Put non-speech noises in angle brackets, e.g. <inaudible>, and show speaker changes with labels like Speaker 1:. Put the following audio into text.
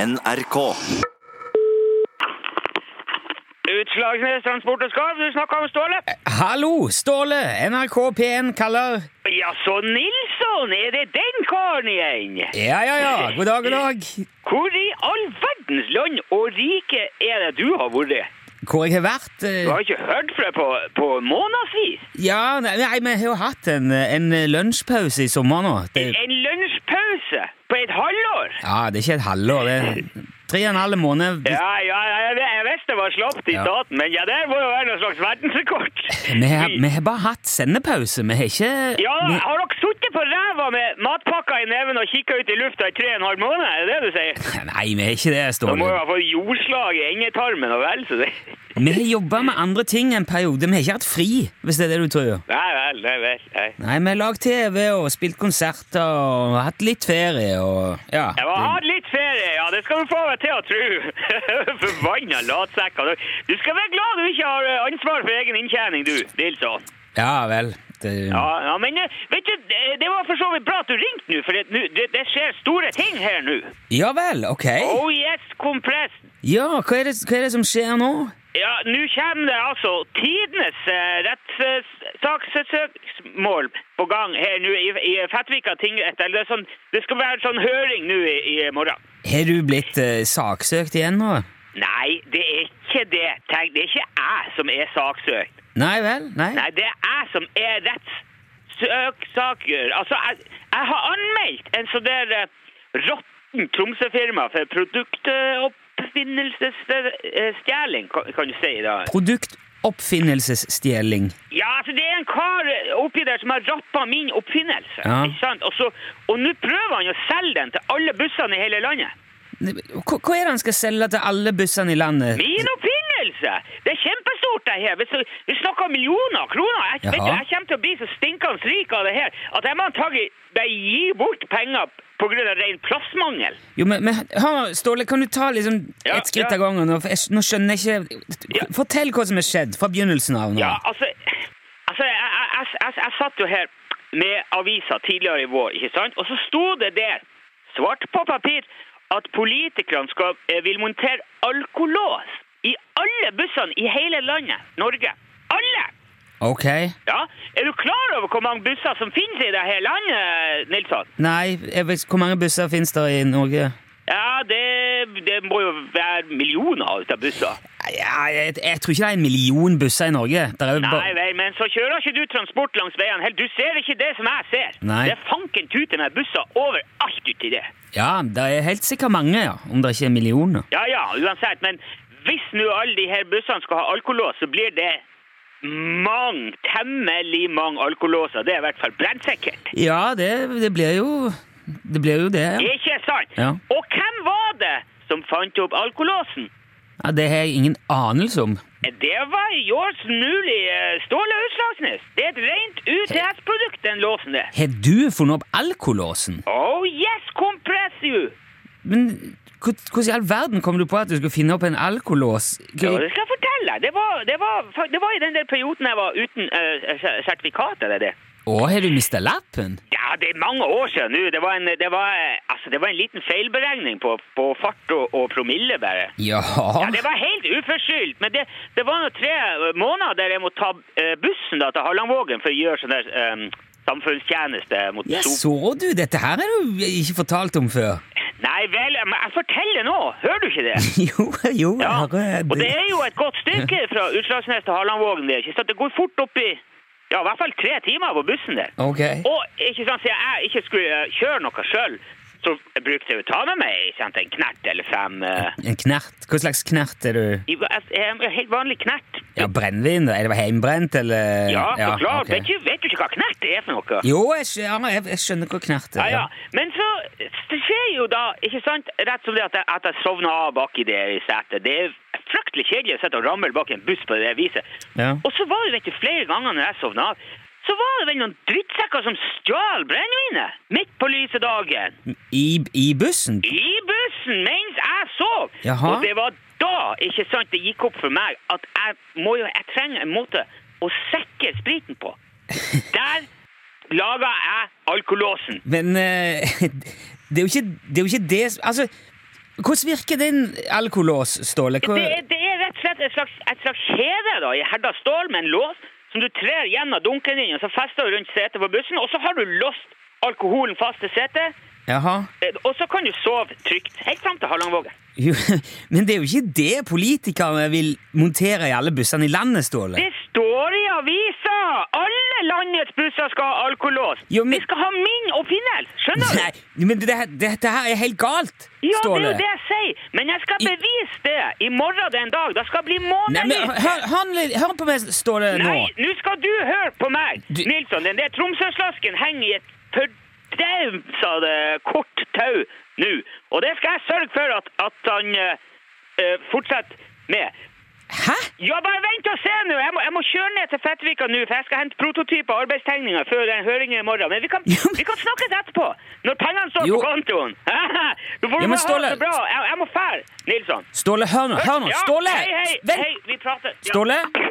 Speaker 1: NRK.
Speaker 2: Utslagsnes Transport og Skarv, du snakker om Ståle?
Speaker 3: Hallo, Ståle! NRK P1 kaller
Speaker 2: Jaså, Nilsson, er det den karen igjen?
Speaker 3: Ja, ja, ja. God dag, god dag.
Speaker 2: Hvor i all verdens land og rike er det du har vært?
Speaker 3: Hvor jeg har vært? eh,
Speaker 2: Du har ikke hørt fra deg på, på månedsvis?
Speaker 3: Ja, nei, nei, vi har jo hatt en, en lunsjpause i sommer nå. Det,
Speaker 2: En lunsjpause på et halvår?
Speaker 3: ja, det er ikke et halvår. Det er tre og en halv måned.
Speaker 2: Ja, ja, jeg, jeg visste det var slapt i
Speaker 3: Ja.
Speaker 2: staten, men ja, det må jo være noe slags verdensrekord.
Speaker 3: Vi har, vi har bare hatt sendepause. Vi har ikke
Speaker 2: Ja,
Speaker 3: vi,
Speaker 2: har dere sittet på ræva med matpakka i neven og kikka ut i lufta i tre og en halv måned? Er det det du sier?
Speaker 3: Nei, vi har ikke det,
Speaker 2: Da må jo
Speaker 3: Ståle.
Speaker 2: ha fått jordslag i endetarmen og vel så det.
Speaker 3: Vi har jobba med andre ting en periode. Vi har ikke hatt fri, hvis det er det du tror.
Speaker 2: Nei vel, nei vel. Nei.
Speaker 3: Nei, vi har lagd TV og spilt konserter og hatt litt ferie og Ja.
Speaker 2: Jeg har hatt litt ferie, ja. Det skal du få meg til å tro. <laughs> Forbanna latsekker. du. Du skal være glad du ikke har eh, ansvar for egen inntjening, du, Nilsson.
Speaker 3: Ja vel. Det,
Speaker 2: Ja, ja, men eh, vet du, det- det var for så vidt bra at du ringte nå, for det, nå- det, det skjer store ting her nå.
Speaker 3: ja vel, ok.
Speaker 2: Oh yes, kompress.
Speaker 3: Ja, hva er, det, hva er det som skjer nå?
Speaker 2: Ja, nå kommer det altså tidenes eh, rettssaksøksmål på gang her nå i, i Fettvika tingrett. Eller det, er sånn, det skal være sånn høring nå i, i morgen.
Speaker 3: Har du blitt eh, saksøkt igjen nå?
Speaker 2: Nei, det er ikke det. Tenk, det er ikke jeg som er saksøkt.
Speaker 3: Nei vel? Nei?
Speaker 2: Nei, det er jeg som er rettssøksaker. Altså, jeg, jeg har anmeldt en sånn der eh, råtten Tromsø-firma for produktoppfinnelsesstjeling, kan kan du si da.
Speaker 3: Produktoppfinnelsesstjeling.
Speaker 2: Ja, altså det er en kar oppi der som har rappa min oppfinnelse.
Speaker 3: Ja.
Speaker 2: ikke sant? Og så- Og nå prøver han å selge den til alle bussene i hele landet.
Speaker 3: Hva, hva er det han skal selge til alle bussene i landet?
Speaker 2: Min oppfinnelse! Det er kjempestort, det her. Vet du, Vi snakker om millioner av kroner. Jeg, vet du,
Speaker 3: Jaha.
Speaker 2: jeg kommer til å bli så stinkende rik av det her at jeg må antagelig bare gi bort penger pga. ren plassmangel.
Speaker 3: Jo, men, men hør, Ståle, kan du ta liksom
Speaker 2: Ja,
Speaker 3: et skritt
Speaker 2: ja.
Speaker 3: av gangen? Nå, for jeg, nå skjønner jeg ikke
Speaker 2: Ja.
Speaker 3: Fortell hva som har skjedd fra begynnelsen av nå.
Speaker 2: Ja, altså, altså jeg, jeg, jeg, jeg, jeg satt jo her med avisa tidligere i vår, ikke sant? Og så sto det der, svart på papir, at politikerne skal, eh, vil montere alkolås i alle bussene i hele landet, Norge. Alle!
Speaker 3: Ok.
Speaker 2: Ja, er du klar over hvor mange busser som finnes i det her landet, Nilsson?
Speaker 3: Nei, jeg vet, hvor mange busser finnes det i Norge?
Speaker 2: Ja, det, det må jo være millioner av disse busser.
Speaker 3: Ja, jeg, jeg tror ikke det er en million busser i Norge. Det er jo
Speaker 2: Nei
Speaker 3: bare-
Speaker 2: vel, men så kjører ikke du transport langs veiene heller. Du ser ikke det som jeg ser.
Speaker 3: Nei.
Speaker 2: Det er fanken tute med busser overalt uti det.
Speaker 3: Ja, det er helt sikkert mange, ja. Om det ikke er millioner.
Speaker 2: Ja ja, uansett. Men hvis nå alle de her bussene skal ha alkolås, så blir det mange, temmelig mange alkolåser. Det er i hvert fall brennsikkert.
Speaker 3: Ja, det, det blir jo Det blir jo det. ja.
Speaker 2: Ikke sant?
Speaker 3: Ja.
Speaker 2: Og hvem var det som fant opp alkolåsen?
Speaker 3: Ja, det har jeg ingen anelse om.
Speaker 2: Det var yours mulig eh, Ståle Utslagsnes. Det er et rent UTS-produkt, den låsen der.
Speaker 3: Har du funnet opp alkolåsen?
Speaker 2: Oh yes, compress you!
Speaker 3: Men hvor- hvordan i all verden kom du på at du skulle finne opp en alkolås?
Speaker 2: Ja,
Speaker 3: Hva-
Speaker 2: det skal jeg fortelle. deg. Det var, det var, det var i den der perioden jeg var uten eh, ser- sertifikat, eller det?
Speaker 3: Å, har du mista lappen?
Speaker 2: Ja, det er mange år siden nå. Det var en, det var, eh, altså, det var en liten feilberegning på, på fart og, og promille, bare. Ja,
Speaker 3: Ja
Speaker 2: det var helt uforskyldt, men det, det var nå tre eh, måneder der jeg måtte ta eh, bussen da, til Harlandvågen for å gjøre sånn der eh, samfunnstjeneste mot
Speaker 3: Ja,
Speaker 2: sop.
Speaker 3: så du? Dette her har du ikke fortalt om før. <laughs>
Speaker 2: Nei vel, men jeg forteller nå. Hører du ikke det?
Speaker 3: Jo, jo,
Speaker 2: Ja,
Speaker 3: jeg hører
Speaker 2: og det er jo et godt stykke fra Utslagsnes til Harlandvågen. Det, ikke sant? det går fort opp i ja, i hvert fall tre timer på bussen der.
Speaker 3: Ok.
Speaker 2: Og ikke sant, siden jeg ikke skulle eh, kjøre noe sjøl, så brukte jeg jo å ta med meg ikke sant, en knert eller fem. eh,
Speaker 3: En knert? Hva slags knert er du?
Speaker 2: i- eh, en helt vanlig knert.
Speaker 3: Ja, Brennevin? da? Er det heimbrent, eller
Speaker 2: Ja, så klart.
Speaker 3: ok.
Speaker 2: Vet, du, vet du ikke hva knert er for noe?
Speaker 3: Jo, jeg, skj- ja, jeg, jeg skjønner hva knert er.
Speaker 2: Ja, ja. Men så det skjer jo da, ikke sant, rett som det at jeg, at jeg sovner av baki det i setet. Det er fryktelig kjedelig å sitte og ramle bak en buss på det viset.
Speaker 3: Ja.
Speaker 2: Og så var det vet du, flere ganger når jeg sovna av, så var det vel noen drittsekker som stjal brennevinet midt på lyse dagen.
Speaker 3: I, I bussen?
Speaker 2: I bussen mens jeg sov!
Speaker 3: Jaha.
Speaker 2: Og det var da ikke sant, det gikk opp for meg at jeg må jo, jeg trenger en måte å sikre spriten på. Der laga jeg alkolåsen.
Speaker 3: <laughs> Men eh, det er jo ikke det, er jo ikke det Altså, Hvordan virker din alkolås, Ståle? Hvor...
Speaker 2: Det, er- det er rett og slett et slags, et slags kjede da, i herda stål med en lås som du trer gjennom dunken din, og så fester du rundt setet på bussen, og så har du låst alkoholen fast til setet,
Speaker 3: Jaha.
Speaker 2: eh, og så kan du sove trygt helt fram til Harlangvågen.
Speaker 3: Jo, <laughs> men det er jo ikke det politikerne vil montere i alle bussene i landet, Ståle.
Speaker 2: Det står i avisa! Alle landets busser skal ha alkolås.
Speaker 3: Jo, men-
Speaker 2: Vi skal ha min oppfinnelse, skjønner du?
Speaker 3: Nei, men det, det, dette her er helt galt,
Speaker 2: Ja, det er
Speaker 3: Ståle.
Speaker 2: jo det jeg sier, men jeg skal
Speaker 3: I-
Speaker 2: bevise det i morgen den dag. Det skal bli
Speaker 3: Nei, men
Speaker 2: månedlig.
Speaker 3: hør, hør, litt- hør på meg, Ståle, nå.
Speaker 2: Nei, nå skal du høre på meg,
Speaker 3: Du-
Speaker 2: Nilsson. Den der Tromsøslasken henger i et fordausende kort tau nå. Og det skal jeg sørge for at, at han eh, eh, fortsetter med.
Speaker 3: Hæ?
Speaker 2: Ja, bare vent og se nå! Jeg må, jeg må kjøre ned til Fettvika nå, for jeg skal hente prototyper og arbeidstegninger før den høringen i morgen. Men vi kan,
Speaker 3: <laughs> Ja, men-
Speaker 2: vi kan snakkes etterpå! Når pengene står
Speaker 3: Jo.
Speaker 2: på kontoen! <laughs> Du får
Speaker 3: Ja,
Speaker 2: ja,
Speaker 3: men
Speaker 2: men, ha
Speaker 3: Ståle-
Speaker 2: det bra! Jeg, jeg må fære, Nilsson.
Speaker 3: Ståle, hør nå. Hør nå. Ståle!
Speaker 2: Ja, hei, hei,
Speaker 3: Vent!
Speaker 2: hei, vi prater. Ja.
Speaker 3: Ståle?